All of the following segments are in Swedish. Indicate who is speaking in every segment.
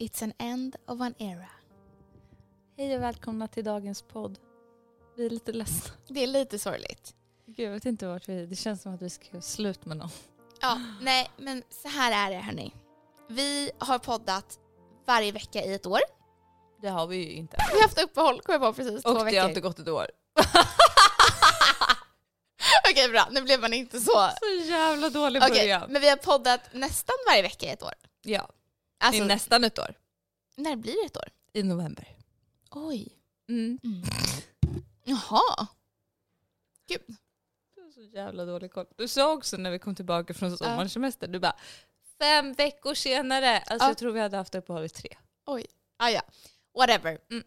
Speaker 1: It's an end of an era.
Speaker 2: Hej och välkomna till dagens podd. Vi är lite ledsna.
Speaker 1: Det är lite sorgligt.
Speaker 2: Gud, jag vet inte vart vi är. Det känns som att vi ska göra slut med någon.
Speaker 1: Ja, nej, men så här är det hörni. Vi har poddat varje vecka i ett år.
Speaker 3: Det har vi ju inte.
Speaker 1: Vi har haft uppehåll, kom jag på precis, två
Speaker 3: Och det
Speaker 1: veckor.
Speaker 3: har inte gått ett år.
Speaker 1: Okej bra, nu blev man inte så...
Speaker 3: Så jävla dålig
Speaker 1: Okej, men vi har poddat nästan varje vecka i ett år.
Speaker 3: Ja,
Speaker 1: Alltså,
Speaker 3: det är nästan ett år.
Speaker 1: när blir det ett år?
Speaker 3: I november.
Speaker 1: Oj.
Speaker 3: Mm.
Speaker 1: Mm. Jaha. Gud.
Speaker 3: Du har så jävla dålig koll. Du sa också när vi kom tillbaka från sommarsemester, du bara fem veckor senare. Alltså
Speaker 1: Ja.
Speaker 3: jag tror vi hade haft uppehåll i tre.
Speaker 1: Ah, ja. Whatever.
Speaker 3: Mm.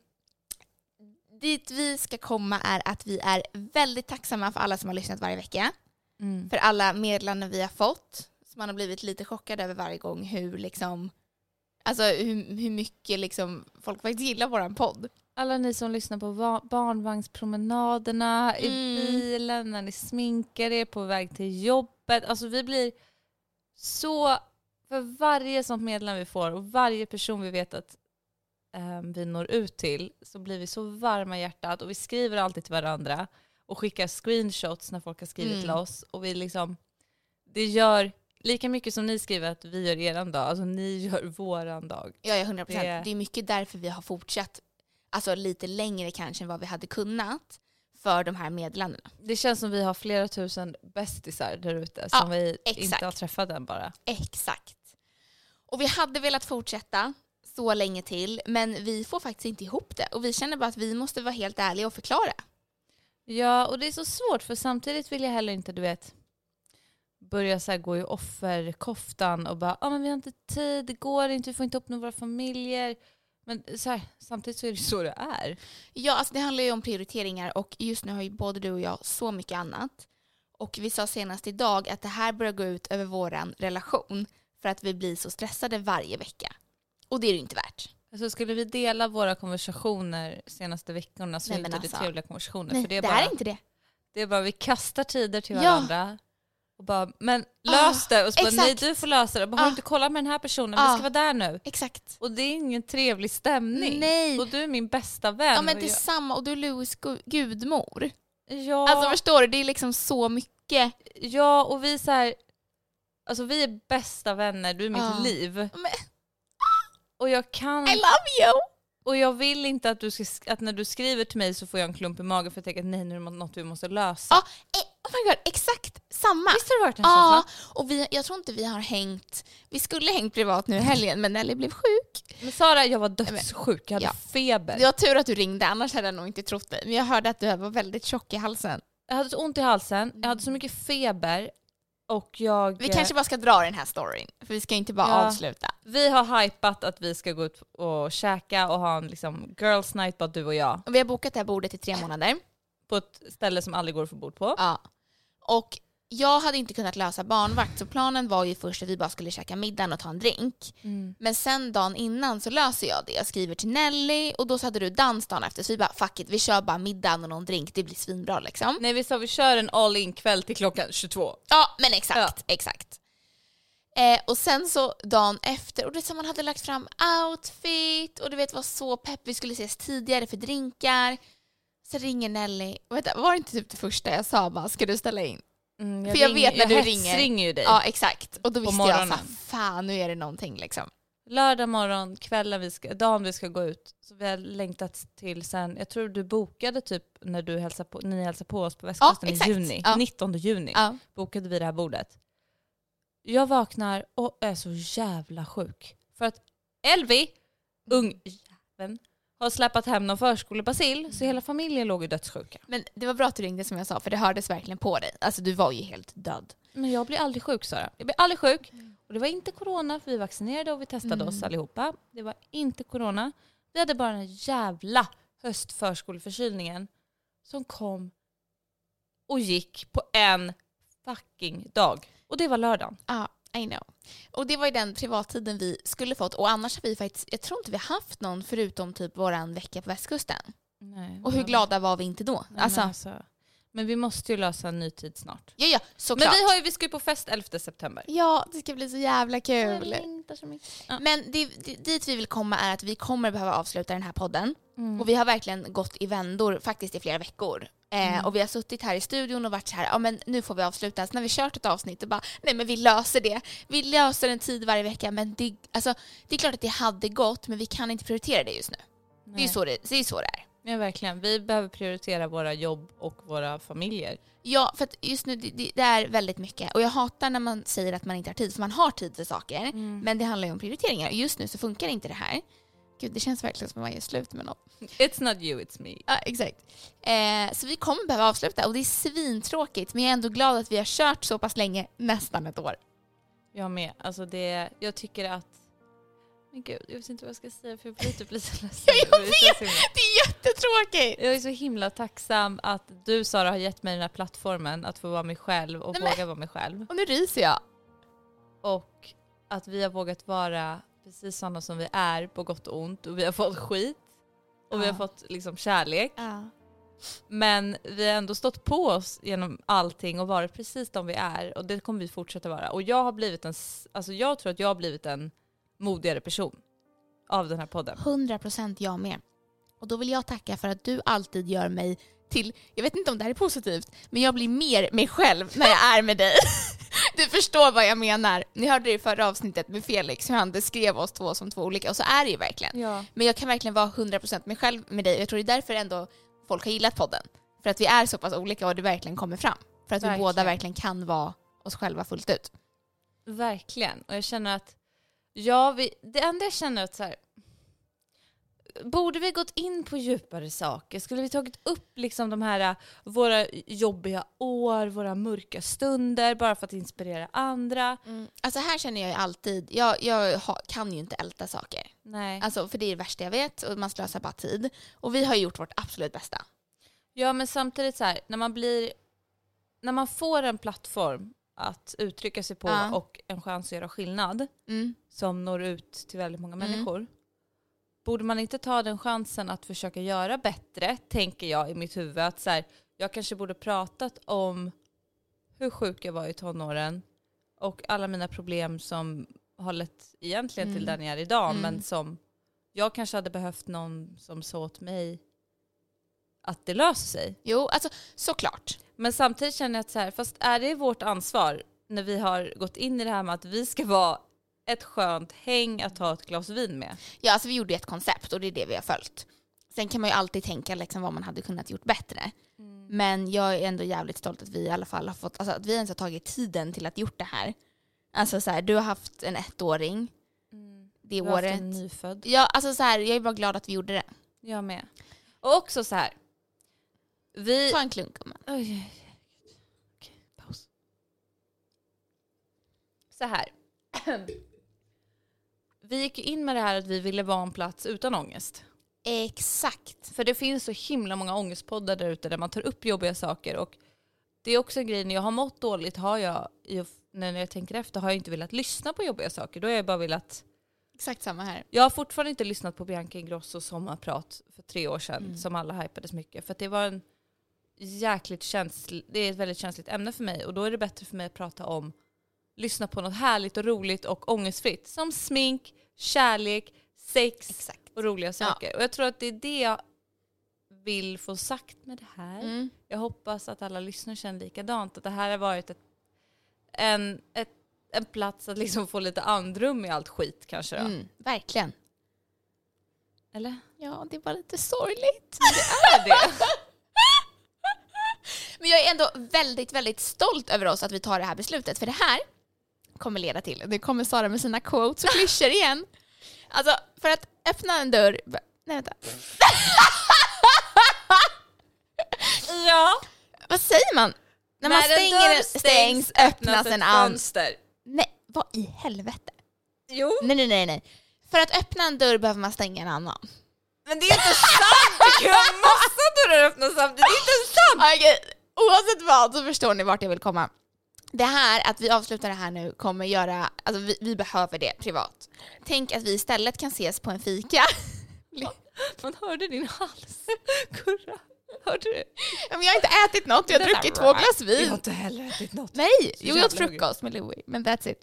Speaker 1: Dit vi ska komma är att vi är väldigt tacksamma för alla som har lyssnat varje vecka.
Speaker 2: Mm.
Speaker 1: För alla meddelanden vi har fått. Så man har blivit lite chockad över varje gång hur liksom Alltså hur, hur mycket liksom folk faktiskt gillar våran podd.
Speaker 2: Alla ni som lyssnar på va- barnvagnspromenaderna, i
Speaker 1: Mm.
Speaker 2: bilen, när ni sminkar er, på väg till jobbet. Alltså vi blir så... För varje sånt meddelande vi får och varje person vi vet att eh, vi når ut till så blir vi så varma i hjärtat och vi skriver alltid till varandra och skickar screenshots när folk har skrivit
Speaker 1: Mm.
Speaker 2: till oss. Och vi liksom, det gör lika mycket som ni skriver att vi gör eran dag, alltså ni gör våran dag.
Speaker 1: Ja, ja 100 procent.
Speaker 2: Det-
Speaker 1: Det är mycket därför vi har fortsatt alltså lite längre kanske än vad vi hade kunnat för de här meddelandena.
Speaker 2: Det känns som vi har flera tusen bästisar där ute som vi
Speaker 1: exakt.
Speaker 2: inte har träffat än bara.
Speaker 1: Exakt. Och vi hade velat fortsätta så länge till men vi får faktiskt inte ihop det och vi känner bara att vi måste vara helt ärliga och förklara.
Speaker 2: Ja, och det är så svårt för samtidigt vill jag heller inte, du vet, börja så här gå i offerkoftan och bara ah, men vi har inte tid, det går inte, vi får inte upp med våra familjer. Men så här, samtidigt så är det så det är.
Speaker 1: Ja, alltså det handlar ju om prioriteringar och just nu har ju både du och jag så mycket annat. Och vi sa senast idag att det här börjar gå ut över våran relation för att vi blir så stressade varje vecka. Och det är det ju inte värt.
Speaker 2: Alltså skulle vi dela våra konversationer senaste veckorna så
Speaker 1: Nej,
Speaker 2: är
Speaker 1: men
Speaker 2: inte det
Speaker 1: alltså.
Speaker 2: trevliga konversationer.
Speaker 1: Nej,
Speaker 2: för det är,
Speaker 1: det
Speaker 2: bara,
Speaker 1: är inte det.
Speaker 2: det är bara vi kastar tider till
Speaker 1: Ja. Ah,
Speaker 2: varandra och bara men lös det och så bara, nej
Speaker 1: exakt.
Speaker 2: du får lösa det. Bara, har
Speaker 1: Ah.
Speaker 2: du inte kollat med den här personen, vi
Speaker 1: Ah.
Speaker 2: ska vara där nu.
Speaker 1: Exakt.
Speaker 2: Och det är ingen trevlig stämning.
Speaker 1: Nej.
Speaker 2: Och du är min bästa vän.
Speaker 1: Ja men
Speaker 2: och
Speaker 1: det är samma och du är Louis gu- gudmor.
Speaker 2: jag, ja,
Speaker 1: Alltså förstår du, det är liksom så mycket.
Speaker 2: ja, och vi är så här, alltså vi är bästa vänner, du är mitt
Speaker 1: Ah.
Speaker 2: liv.
Speaker 1: Men-
Speaker 2: Och jag kan,
Speaker 1: I love you!
Speaker 2: och jag vill inte att, du ska, sk- att när du skriver till mig så får jag en klump i magen för jag tänker att nej nu är det något vi måste lösa.
Speaker 1: Ja, eh, oh my god, exakt samma.
Speaker 2: Visst har det varit en
Speaker 1: Ja,
Speaker 2: känsla?
Speaker 1: och vi, jag tror inte vi har hängt, vi skulle hängt privat nu i helgen men Nelly blev sjuk.
Speaker 2: Men Sara, jag var dödssjuk, jag hade
Speaker 1: Ja.
Speaker 2: feber.
Speaker 1: Det var tur att du ringde, annars hade jag nog inte trott dig. Men jag hörde att du var väldigt tjock i halsen.
Speaker 2: Jag hade så ont i halsen, jag hade så mycket feber och jag...
Speaker 1: Mm. Vi kanske bara ska dra den här storyn, för vi ska inte bara
Speaker 2: Ja.
Speaker 1: avsluta.
Speaker 2: Vi har hypat att vi ska gå ut och käka och ha en liksom girls night bara du och jag.
Speaker 1: Och vi har bokat det här bordet i tre månader.
Speaker 2: På ett ställe som aldrig går att få bord på.
Speaker 1: Ja. Och jag hade inte kunnat lösa barnvakt, så planen var ju först att vi bara skulle käka middagen och ta en drink. Men sen dagen innan så löser jag det. Jag skriver till Nelly och då så hade du dans dagen efter. Så vi bara fuck it, vi kör bara middagen och någon drink, det blir svinbra liksom.
Speaker 2: Nej vi sa vi kör en all in kväll till klockan 22.
Speaker 1: Ja, men exakt. exakt. Eh, och sen så dagen efter, och det som man hade lagt fram outfit och du vet var så pepp, vi skulle ses tidigare för drinkar. Så ringer Nelly, och vänta, var det inte typ det första jag sa bara, ska du ställa in?
Speaker 2: Mm, jag
Speaker 1: För jag vet när du ringer.
Speaker 2: hetsringer ju dig.
Speaker 1: Ja, exakt. Och då visste jag så här,
Speaker 2: morgonen.
Speaker 1: fan nu är det någonting liksom.
Speaker 2: Lördag morgon, kvällen vi ska, dagen vi ska gå ut. Så vi har längtat till sen, jag tror du bokade typ när du hälsade på, ni hälsade på oss på västkusten
Speaker 1: exakt.
Speaker 2: i juni.
Speaker 1: Ja.
Speaker 2: 19 juni
Speaker 1: Ja.
Speaker 2: bokade vi det här bordet. Jag vaknar och är så jävla sjuk. För att Elvi, ungjäveln, har släpat hem någon förskolebacill så hela familjen låg ju dödssjuka.
Speaker 1: Men det var bra att du ringde som jag sa, för det hördes verkligen på dig. Alltså du var ju helt död.
Speaker 2: Men jag blir aldrig sjuk Sara. Mm. Jag blir aldrig sjuk. Och det var inte corona för vi vaccinerade och vi testade oss allihopa. Det var inte corona. Vi hade bara den här jävla höstförskoleförkylningen som kom och gick på en fucking dag. Och det var lördagen.
Speaker 1: Ja, I know. Och det var ju den privattiden vi skulle fått och annars har vi faktiskt, jag tror inte vi haft någon
Speaker 2: Mm.
Speaker 1: förutom typ våran vecka på västkusten. Och hur glada var vi inte då?
Speaker 2: Nej, men
Speaker 1: alltså,
Speaker 2: alltså. Men, Men vi måste ju lösa en ny tid snart.
Speaker 1: Ja, ja,
Speaker 2: Men
Speaker 1: såklart.
Speaker 2: vi, har ju, vi ska ju på fest 11 september.
Speaker 1: Ja, det ska bli så jävla kul.
Speaker 2: Ja.
Speaker 1: Men det, det, dit vi vill komma är att vi kommer behöva avsluta den här podden.
Speaker 2: Mm.
Speaker 1: Och vi har verkligen gått i vändor faktiskt i flera veckor. Eh, Och vi har suttit här i studion och varit så här, ja men nu får vi avsluta. Så när vi kört ett avsnitt och bara, nej men vi löser det. Vi löser en tid varje vecka men det, alltså, det är klart att det hade gått men vi kan inte prioritera det just nu. Det är ju
Speaker 2: Nej.
Speaker 1: så det, det, är så det är.
Speaker 2: Ja, verkligen. Vi behöver prioritera våra jobb och våra familjer.
Speaker 1: Ja, för att just nu det, det, det är väldigt mycket och jag hatar när man säger att man inte har tid för man har tid för saker
Speaker 2: Mm.
Speaker 1: men det handlar ju om prioriteringar och just nu så funkar inte det här. Gud, det känns verkligen som att man gör slut med någon.
Speaker 2: It's not you, it's me.
Speaker 1: Ja, exakt. Eh, så vi kommer behöva avsluta och det är svintråkigt men jag är ändå glad att vi har kört så pass länge, nästan ett år.
Speaker 2: Jag med. Alltså det, jag tycker att... Men gud, jag vet inte vad jag ska säga för jag blir typ lite ledsen.
Speaker 1: Ja, jag
Speaker 2: Det är så himla-
Speaker 1: Det är jättetråkigt!
Speaker 2: Jag är så himla tacksam att du Sara har gett mig den här plattformen att få vara mig själv och
Speaker 1: Nej, men-
Speaker 2: våga vara mig själv.
Speaker 1: Och nu ryser jag.
Speaker 2: Och att vi har vågat vara precis sådana som vi är på gott och ont och vi har fått skit och vi
Speaker 1: Ja.
Speaker 2: har fått liksom kärlek.
Speaker 1: Ja.
Speaker 2: Men vi har ändå stått på oss genom allting och varit precis de vi är och det kommer vi fortsätta vara. Och jag har blivit en, s- alltså jag tror att jag har blivit en modigare person av den här podden.
Speaker 1: 100% jag med. Och då vill jag tacka för att du alltid gör mig till, jag vet inte om det här är positivt, men jag blir mer mig själv när jag är med dig. Du förstår vad jag menar. Ni hörde det i förra avsnittet med Felix, hur han beskrev oss två som två olika, och så är det ju verkligen.
Speaker 2: Ja.
Speaker 1: Men jag kan verkligen vara 100% mig själv med dig och jag tror det är därför ändå folk har gillat podden. För att vi är så pass olika och det verkligen kommer fram. För att vi
Speaker 2: Verkligen.
Speaker 1: båda verkligen kan vara oss själva fullt ut.
Speaker 2: Verkligen. Och jag känner att, ja, vi, det enda jag känner är att så här, borde vi gått in på djupare saker? Skulle vi tagit upp liksom de här, eh, våra jobbiga år, våra mörka stunder bara för att inspirera andra?
Speaker 1: Alltså här känner jag ju alltid, jag, jag ha, kan ju inte älta saker.
Speaker 2: Nej.
Speaker 1: Alltså för det är det värsta jag vet och man slösar bara tid. Och vi har ju gjort vårt absolut bästa.
Speaker 2: Ja men samtidigt så här, när man blir, när man får en plattform att uttrycka sig på
Speaker 1: Ja.
Speaker 2: och en chans att göra skillnad
Speaker 1: Mm.
Speaker 2: som når ut till väldigt många
Speaker 1: Mm.
Speaker 2: människor. Borde man inte ta den chansen att försöka göra bättre, tänker jag i mitt huvud. Att så här, jag kanske borde pratat om hur sjuk jag var i tonåren och alla mina problem som har lett egentligen till
Speaker 1: Mm.
Speaker 2: den jag är idag
Speaker 1: Mm.
Speaker 2: men som jag kanske hade behövt någon som sa åt mig att det löser sig.
Speaker 1: Jo, alltså såklart.
Speaker 2: Men samtidigt känner jag att så här, fast är det vårt ansvar när vi har gått in i det här med att vi ska vara ett skönt häng att ta ett glas vin med?
Speaker 1: Ja, alltså vi gjorde ju ett koncept och det är det vi har följt. Sen kan man ju alltid tänka liksom vad man hade kunnat gjort bättre.
Speaker 2: Mm.
Speaker 1: Men jag är ändå jävligt stolt att vi i alla fall har fått, alltså att vi ens har tagit tiden till att gjort det här. Alltså så här, du har haft en ettåring det
Speaker 2: Du har haft
Speaker 1: året.
Speaker 2: en nyfödd.
Speaker 1: Ja, alltså så här, jag är bara glad att vi gjorde det.
Speaker 2: Jag med. Och också så här. Vi...
Speaker 1: Ta en klunk om
Speaker 2: Oj, oj, oj. Okej, paus. Så här. Vi gick ju in med det här att vi ville vara en plats utan ångest.
Speaker 1: Exakt.
Speaker 2: För det finns så himla många ångestpoddar där ute där man tar upp jobbiga saker och det är också en grej när jag har mått dåligt har jag, i- när jag tänker efter, har jag inte velat lyssna på jobbiga saker. Då har jag bara velat,
Speaker 1: Exakt samma här.
Speaker 2: jag har fortfarande inte lyssnat på Bianca Ingrossos sommarprat för tre år sedan som alla hypades mycket för att det var en jäkligt känslig, det är ett väldigt känsligt ämne för mig och då är det bättre för mig att prata om, lyssna på något härligt och roligt och ångestfritt som smink, kärlek, sex,
Speaker 1: Exakt.
Speaker 2: och roliga saker. Och jag tror att det är det jag vill få sagt med det här.
Speaker 1: Mm.
Speaker 2: Jag hoppas att alla lyssnare känner likadant. Att det här har varit ett, en, ett, en plats att liksom få lite andrum i allt skit kanske då.
Speaker 1: Mm, verkligen.
Speaker 2: Eller?
Speaker 1: Ja, det var lite sorgligt.
Speaker 2: Är det?
Speaker 1: Men jag är ändå väldigt, väldigt stolt över oss att vi tar det här beslutet. För det här kommer leda till, nu kommer Sara med sina quotes och klyschor igen. Alltså, för att öppna en dörr... Nej, vänta.
Speaker 2: ja.
Speaker 1: Vad säger man? När man
Speaker 2: När en
Speaker 1: stänger
Speaker 2: dörr
Speaker 1: en
Speaker 2: stängs,
Speaker 1: stängs öppnas en annan.
Speaker 2: fönster.
Speaker 1: Nej, vad i helvete?
Speaker 2: Jo.
Speaker 1: Nej, nej, nej, nej. För att öppna en dörr behöver man stänga en annan.
Speaker 2: Men det är inte sant! Det kan vara massa dörrar öppna samtidigt. Det är inte sant!
Speaker 1: Okej, oavsett vad så förstår ni vart jag vill komma. Det här, att vi avslutar det här nu, kommer göra... Alltså vi, vi behöver det privat. Tänk att vi istället kan ses på en fika.
Speaker 2: Man hörde din hals kurra. Hörde du?
Speaker 1: Men jag har inte ätit något, jag har
Speaker 2: Det där-
Speaker 1: druckit två glas
Speaker 2: Jag har
Speaker 1: vin.
Speaker 2: inte heller ätit något.
Speaker 1: Nej, jo, jag åt
Speaker 2: jävla Mm.
Speaker 1: frukost med Louie, men that's it.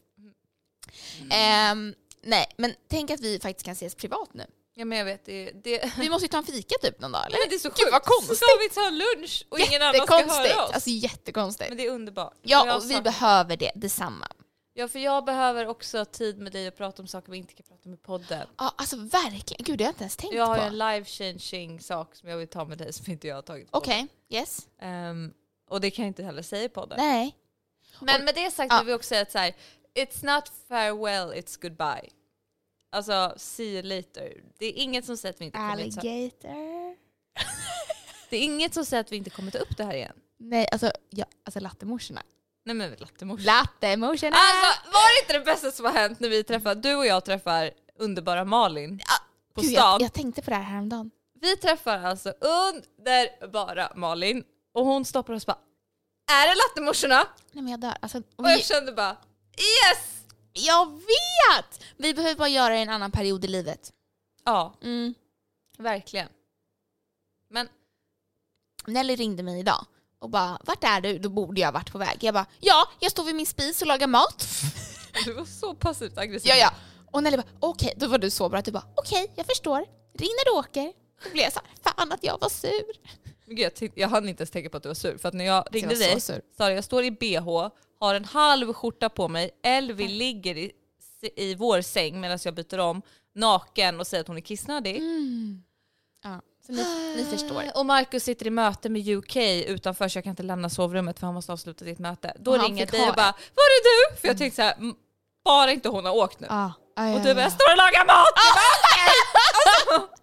Speaker 1: Ehm, nej, men tänk att vi faktiskt kan ses privat nu.
Speaker 2: Ja men jag vet, det, det,
Speaker 1: Vi måste ju ta en fika typ någon dag, eller?
Speaker 2: Mm. men det är så sjukt.
Speaker 1: vad konstigt.
Speaker 2: Ska vi ta lunch och ingen annan ska
Speaker 1: Jättekonstigt.
Speaker 2: höra oss?
Speaker 1: Alltså jättekonstigt.
Speaker 2: Men det är underbart.
Speaker 1: Ja,
Speaker 2: jag
Speaker 1: och vi
Speaker 2: saknar-
Speaker 1: behöver det, detsamma.
Speaker 2: ja, för jag behöver också tid med dig att prata om saker vi inte kan prata om i podden.
Speaker 1: Ja, alltså verkligen. Gud, det har jag inte ens tänkt
Speaker 2: Jag har ju
Speaker 1: på.
Speaker 2: en life changing sak som jag vill ta med dig som inte jag har tagit på.
Speaker 1: Okej, yes.
Speaker 2: Ehm, och det kan jag inte heller säga i podden.
Speaker 1: Nej.
Speaker 2: Men med det sagt
Speaker 1: Ja.
Speaker 2: vill vi också säga att så här, it's not farewell, it's goodbye. Alltså, see you later. Det är inget som säger att vi inte kommer ta,
Speaker 1: Alligator.
Speaker 2: det är inget som säger att vi inte kommer ta upp det här igen.
Speaker 1: Nej, alltså, ja, alltså lattemorsorna.
Speaker 2: Nej men lattemorsan.
Speaker 1: Lattemorsorna!
Speaker 2: Alltså var det inte det bästa som har hänt när vi träffar, du och jag träffar underbara Malin på
Speaker 1: Ah, Gud,
Speaker 2: stan?
Speaker 1: jag, jag tänkte på det här häromdagen.
Speaker 2: Vi träffar alltså underbara Malin och hon stoppar oss och bara Är det lattemorsorna?
Speaker 1: Nej men jag dör. Alltså,
Speaker 2: Och jag
Speaker 1: vi,
Speaker 2: kände bara Yes!
Speaker 1: jag vet! Vi behöver bara göra det i en annan period i livet.
Speaker 2: Ja,
Speaker 1: Mm.
Speaker 2: verkligen. Men
Speaker 1: Nelly ringde mig idag och bara “vart är du?” Då borde jag ha varit på väg. Jag bara “ja, jag står vid min spis och lagar mat”.
Speaker 2: du var så passivt aggressiv.
Speaker 1: ja, ja. Och Nelly bara “okej”, då var du så bra att du bara “okej, jag förstår. Ring när du åker”. Då blev jag såhär “fan att jag var sur”.
Speaker 2: Men Gud, jag, tänkte, jag hann inte ens tänka på att du var sur för att när jag ringde
Speaker 1: Jag var så
Speaker 2: dig
Speaker 1: sur.
Speaker 2: sa jag, jag står i bh, har en halv skjorta på mig, Elvi ligger i, i vår säng medan jag byter om, naken och säger att hon är kissnödig.
Speaker 1: Ja, så ni, ni förstår.
Speaker 2: Eh, Och Marcus sitter i möte med UK utanför så jag kan inte lämna sovrummet för han måste avsluta sitt möte. Då
Speaker 1: Och han
Speaker 2: ringer jag
Speaker 1: fick
Speaker 2: dig
Speaker 1: ha
Speaker 2: och bara “Var är du?” För jag tänkte såhär, "M- bara inte hon har åkt nu.
Speaker 1: Ja. Ah. Ja, ja,
Speaker 2: Och du bara
Speaker 1: ja.
Speaker 2: “Jag står och lagar mat!” Jag bara, "Okej." Och så-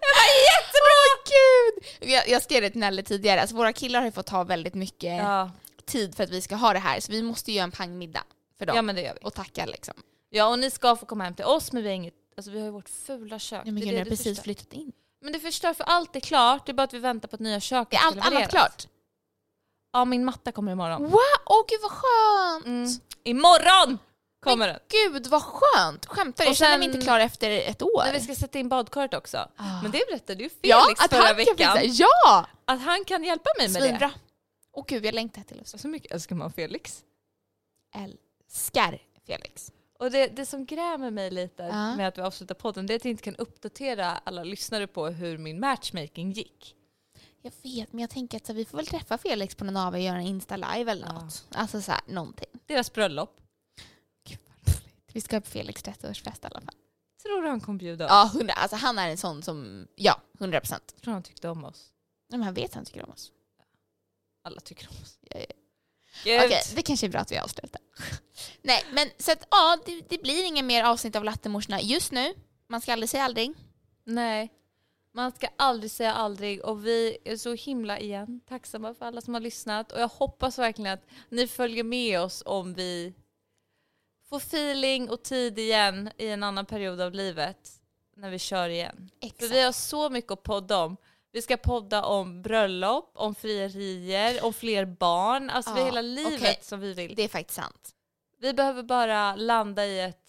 Speaker 2: Jag bara “Jättebra!”
Speaker 1: Gud! Jag, jag skrev det till Nelly tidigare, alltså, våra killar har ju fått ta väldigt mycket
Speaker 2: Ja,
Speaker 1: tid för att vi ska ha det här så vi måste ju göra en pangmiddag för dem
Speaker 2: ja men det gör vi.
Speaker 1: och tacka liksom.
Speaker 2: Ja och ni ska få komma hem till oss men vi har inget, alltså vi har ju vårt fula kök.
Speaker 1: Ja, men
Speaker 2: det är
Speaker 1: gud,
Speaker 2: det
Speaker 1: jag har
Speaker 2: du
Speaker 1: precis
Speaker 2: förstör.
Speaker 1: flyttat in.
Speaker 2: Men det förstör för allt är klart, det är bara att vi väntar på att nya köket
Speaker 1: Det är allt
Speaker 2: ska levereras.
Speaker 1: annat klart.
Speaker 2: Ja min matta kommer imorgon.
Speaker 1: Wow, åh gud vad skönt!
Speaker 2: Mm. Imorgon kommer den!
Speaker 1: Gud vad skönt! Skämtar du? Jag
Speaker 2: Och
Speaker 1: känner
Speaker 2: sen-
Speaker 1: mig inte klar efter ett år.
Speaker 2: Men vi ska sätta in badkaret också.
Speaker 1: Ah.
Speaker 2: Men det berättade ju Felix
Speaker 1: ja, att
Speaker 2: förra
Speaker 1: han
Speaker 2: veckan.
Speaker 1: kan fixa. Ja!
Speaker 2: Att han kan hjälpa mig med det.
Speaker 1: Svinbra. Åh gud, jag längtar till oss.
Speaker 2: Så mycket älskar man Felix.
Speaker 1: Älskar Felix.
Speaker 2: Och det, det som grämer mig lite
Speaker 1: Ja.
Speaker 2: med att vi avslutar podden det är att jag inte kan uppdatera alla lyssnare på hur min matchmaking gick.
Speaker 1: Jag vet, men jag tänker att så, här, vi får väl träffa Felix på någon av och göra en Insta-live eller
Speaker 2: Ja.
Speaker 1: något. Alltså så här, någonting.
Speaker 2: Deras bröllop.
Speaker 1: Gud vad roligt. Vi ska på Felix 30-årsfest i alla fall.
Speaker 2: Tror du han kommer bjuda oss?
Speaker 1: Ja, 100. Alltså han är en sån som, ja, 100 procent.
Speaker 2: Tror han tyckte om oss?
Speaker 1: Men han vet att han tycker om oss.
Speaker 2: Alla tycker om oss.
Speaker 1: Ja, ja.
Speaker 2: Gud.
Speaker 1: Okej, det kanske är bra att vi avslutar. Nej, men så att ja, det, det blir inga mer avsnitt av Lattemorsorna just nu. Man ska aldrig säga aldrig.
Speaker 2: Nej. Man ska aldrig säga aldrig och vi är så himla igen tacksamma för alla som har lyssnat och jag hoppas verkligen att ni följer med oss om vi får feeling och tid igen i en annan period av livet när vi kör igen. För
Speaker 1: Exakt.
Speaker 2: vi har så mycket att podda om. Vi ska podda om bröllop, om frierier, om fler barn, alltså
Speaker 1: Ja,
Speaker 2: det är hela livet
Speaker 1: okej.
Speaker 2: som vi vill.
Speaker 1: Det är faktiskt sant.
Speaker 2: Vi behöver bara landa i ett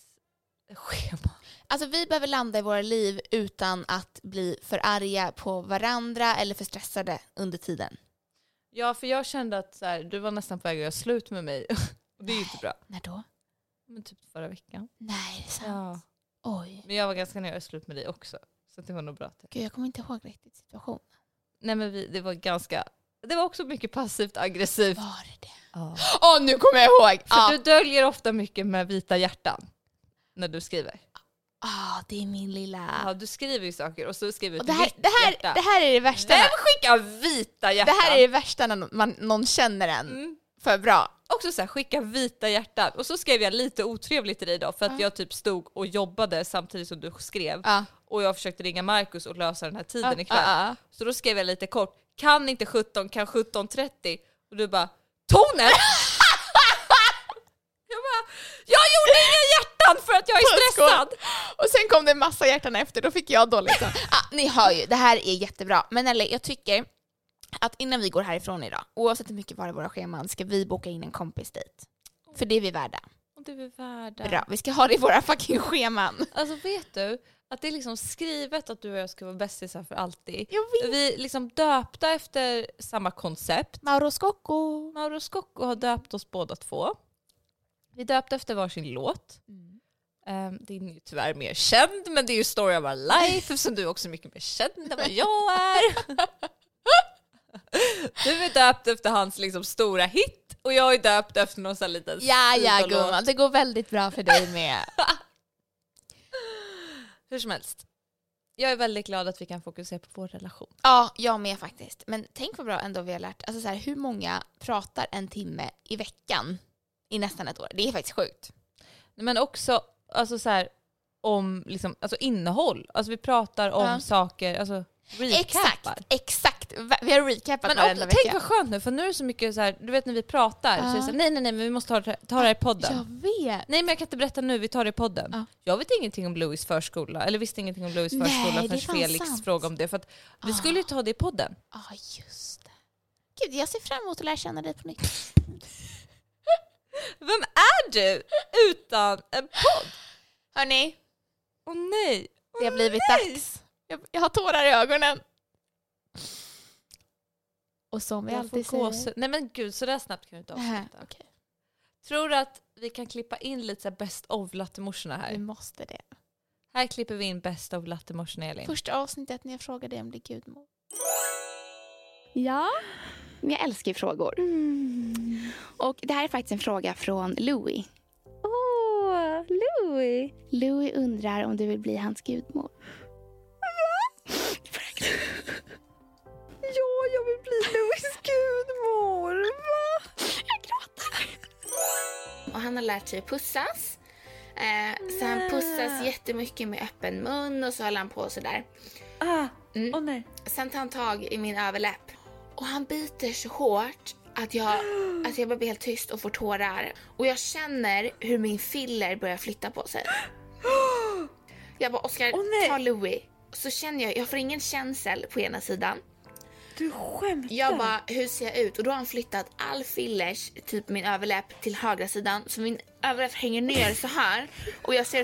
Speaker 2: schema.
Speaker 1: Alltså vi behöver landa i våra liv utan att bli för arga på varandra eller för stressade under tiden.
Speaker 2: Ja, för jag kände att så här, du var nästan på väg att göra slut med mig. Och det är ju inte bra.
Speaker 1: När då?
Speaker 2: Men typ förra veckan.
Speaker 1: Nej, det är sant.
Speaker 2: Ja.
Speaker 1: Oj.
Speaker 2: Men jag var ganska nära att göra slut med dig också. Så det var nog bra. att-
Speaker 1: Gud, jag kommer inte ihåg riktigt situationen.
Speaker 2: Nej men vi, det var ganska, det var också mycket passivt aggressivt.
Speaker 1: Var det det?
Speaker 2: Ja.
Speaker 1: Åh, nu kommer jag ihåg!
Speaker 2: För
Speaker 1: Ja,
Speaker 2: du döljer ofta mycket med vita hjärtan. När du skriver.
Speaker 1: ah, det är min lilla...
Speaker 2: Ja, du skriver ju saker och så skriver du
Speaker 1: Och det, här,
Speaker 2: ett
Speaker 1: det,
Speaker 2: hjärta.
Speaker 1: här, det här är det värsta.
Speaker 2: Vem skickar vita
Speaker 1: Det
Speaker 2: hjärtan?
Speaker 1: här är det värsta när man, någon känner en
Speaker 2: Mm.
Speaker 1: för bra.
Speaker 2: Också så här, skicka vita hjärtan. Och så skrev jag lite otrevligt till dig idag för att jag typ stod och jobbade samtidigt som du skrev.
Speaker 1: Ja.
Speaker 2: och jag försökte ringa Marcus och lösa den här tiden
Speaker 1: Ja,
Speaker 2: ikväll.
Speaker 1: ja, ja.
Speaker 2: Så då skrev jag lite kort, kan inte 17, kan 17.30? Och du bara, tonen! jag bara, jag gjorde inga hjärtan för att jag är stressad!
Speaker 1: Och sen kom det en massa hjärtan efter, då fick jag dåligt liksom. ah, Ni hör ju, det här är jättebra. Men eller, jag tycker att innan vi går härifrån idag, oavsett hur mycket var i våra scheman, ska vi boka in en kompis dit. För det är vi värda.
Speaker 2: Och du är värda.
Speaker 1: Bra, vi ska ha det i våra fucking scheman.
Speaker 2: Alltså vet du att det är liksom skrivet att du och jag ska vara bästisar för alltid.
Speaker 1: Jag vet.
Speaker 2: Vi är liksom döpta efter samma koncept.
Speaker 1: Mauro Scocco.
Speaker 2: Mauro Scocco har döpt oss båda två. Vi är döpta efter varsin låt.
Speaker 1: Mm.
Speaker 2: Um, din är ju tyvärr mer känd, men det är ju Story of our life eftersom du är också mycket mer känd än vad jag är. du är döpt efter hans liksom stora hit och jag är döpt efter någon sån här liten
Speaker 1: Ja, ja
Speaker 2: sidolåt.
Speaker 1: gumman, det går väldigt bra för dig med.
Speaker 2: Hur som helst. Jag är väldigt glad att vi kan fokusera på vår relation.
Speaker 1: ja, jag med faktiskt. Men tänk vad bra ändå vi har lärt, alltså så här, hur många pratar en timme i veckan i nästan ett år? Det är faktiskt sjukt.
Speaker 2: Men också alltså så här, om liksom, alltså innehåll. Alltså vi pratar om
Speaker 1: Ja.
Speaker 2: saker, alltså recapar.
Speaker 1: Exakt, exakt. Va- Vi har recapat
Speaker 2: Men
Speaker 1: varenda
Speaker 2: också,
Speaker 1: vecka.
Speaker 2: tänk vad skönt nu för nu är det så mycket så här, du vet när vi pratar så är det
Speaker 1: Ja.
Speaker 2: så här, nej nej nej men vi måste ta, det- ta det här i podden.
Speaker 1: Jag vet.
Speaker 2: Nej men jag kan inte berätta nu, vi tar det i podden.
Speaker 1: Ja.
Speaker 2: Jag vet ingenting om Louis förskola, eller visste ingenting om Louis
Speaker 1: Nej,
Speaker 2: förskola
Speaker 1: det är
Speaker 2: förrän
Speaker 1: fan
Speaker 2: Felix
Speaker 1: sant.
Speaker 2: frågade om det. För att vi
Speaker 1: Ah.
Speaker 2: skulle ju ta det i podden.
Speaker 1: Ja, just det. Gud, jag ser fram emot att lära känna dig på nytt.
Speaker 2: Vem är du utan en podd?
Speaker 1: Hörni,
Speaker 2: Åh nej! Åh,
Speaker 1: det har blivit
Speaker 2: nej.
Speaker 1: dags. Jag, jag har tårar i ögonen. Och som vi
Speaker 2: Jag
Speaker 1: alltid
Speaker 2: får gåshud.
Speaker 1: säger...
Speaker 2: Nej men gud, sådär snabbt kan du inte
Speaker 1: Nähä,
Speaker 2: avsluta.
Speaker 1: okej.
Speaker 2: Tror du att vi kan klippa in lite så här best of lattemorsorna här?
Speaker 1: Vi
Speaker 4: Mm.
Speaker 1: måste det.
Speaker 2: Här klipper vi in best of lattemorsorna Elin.
Speaker 1: Första avsnittet när jag frågade dig om det är gudmor. Ja? Men jag älskar ju frågor.
Speaker 5: Mm.
Speaker 1: Och det här är faktiskt en fråga från Louis.
Speaker 5: Åh, Louie!
Speaker 1: Louis undrar om du vill bli hans gudmor.
Speaker 5: Ja, jag vill bli Louies gudmor! Va?
Speaker 1: Och han har lärt sig pussas. Eh, så han pussas jättemycket med öppen mun och så håller han på sådär.
Speaker 5: Ah,
Speaker 1: Mm.
Speaker 5: åh nej.
Speaker 1: Sen tar han tag i min överläpp och han biter så hårt att jag, att jag bara blir helt tyst och får tårar. Och jag känner hur min filler börjar flytta på sig. Jag bara Oskar,
Speaker 5: Åh, nej.
Speaker 1: ta Louis. Så känner jag, jag får ingen känsel på ena sidan.
Speaker 5: Du skämtar?
Speaker 1: Jag bara, hur ser jag ut? Och då har han flyttat all fillers, typ min överläpp, till högra sidan. Så min överläpp hänger ner så här och jag ser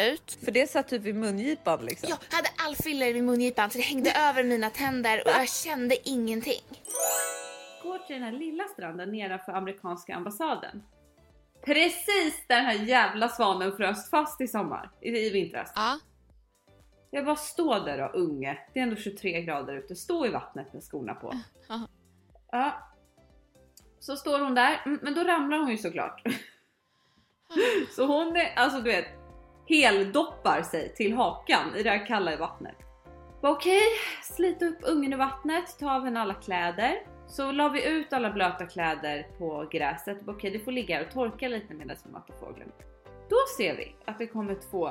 Speaker 1: ut.
Speaker 5: För det satt typ i mungipan liksom.
Speaker 1: Jag hade all filler i mungipan så det hängde över mina tänder och jag kände ingenting.
Speaker 4: går till den här lilla stranden nedanför amerikanska ambassaden. Precis där den här jävla svanen frös fast i sommar, i, i vintras.
Speaker 1: Ja.
Speaker 4: Jag bara stå där då unge, det är ändå 23 grader ute, stå i vattnet med skorna på.
Speaker 1: Ja.
Speaker 4: Ja. Så står hon där, Mm, men då ramlar hon ju såklart. Så hon är, alltså du vet, heldoppar sig till hakan i det här kalla i vattnet. Bara, Okej, slita upp ungen i vattnet, ta av henne alla kläder. Så la vi ut alla blöta kläder på gräset. Bara, Okej, det får ligga här och torka lite medan vi matar fågeln. Då ser vi att det kommer två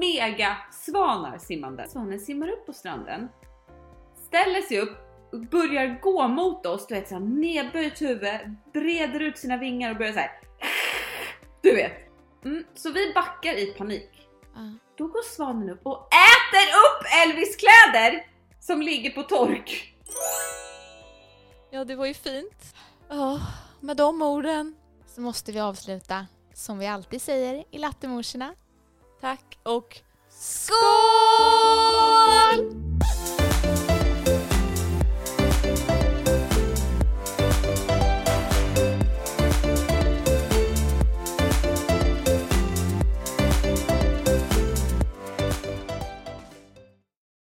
Speaker 4: mega svanar simmande. Svanen simmar upp på stranden, ställer sig upp och börjar gå mot oss. Du vet såhär nedböjt huvud, breder ut sina vingar och börjar såhär. Du vet. Mm, så vi backar i panik. Då går svanen upp och äter upp Elvis kläder som ligger på tork.
Speaker 2: Ja det var ju fint. Ja, med de orden.
Speaker 1: Så måste vi avsluta som vi alltid säger i lattemorsorna.
Speaker 2: Tack och
Speaker 1: Skål!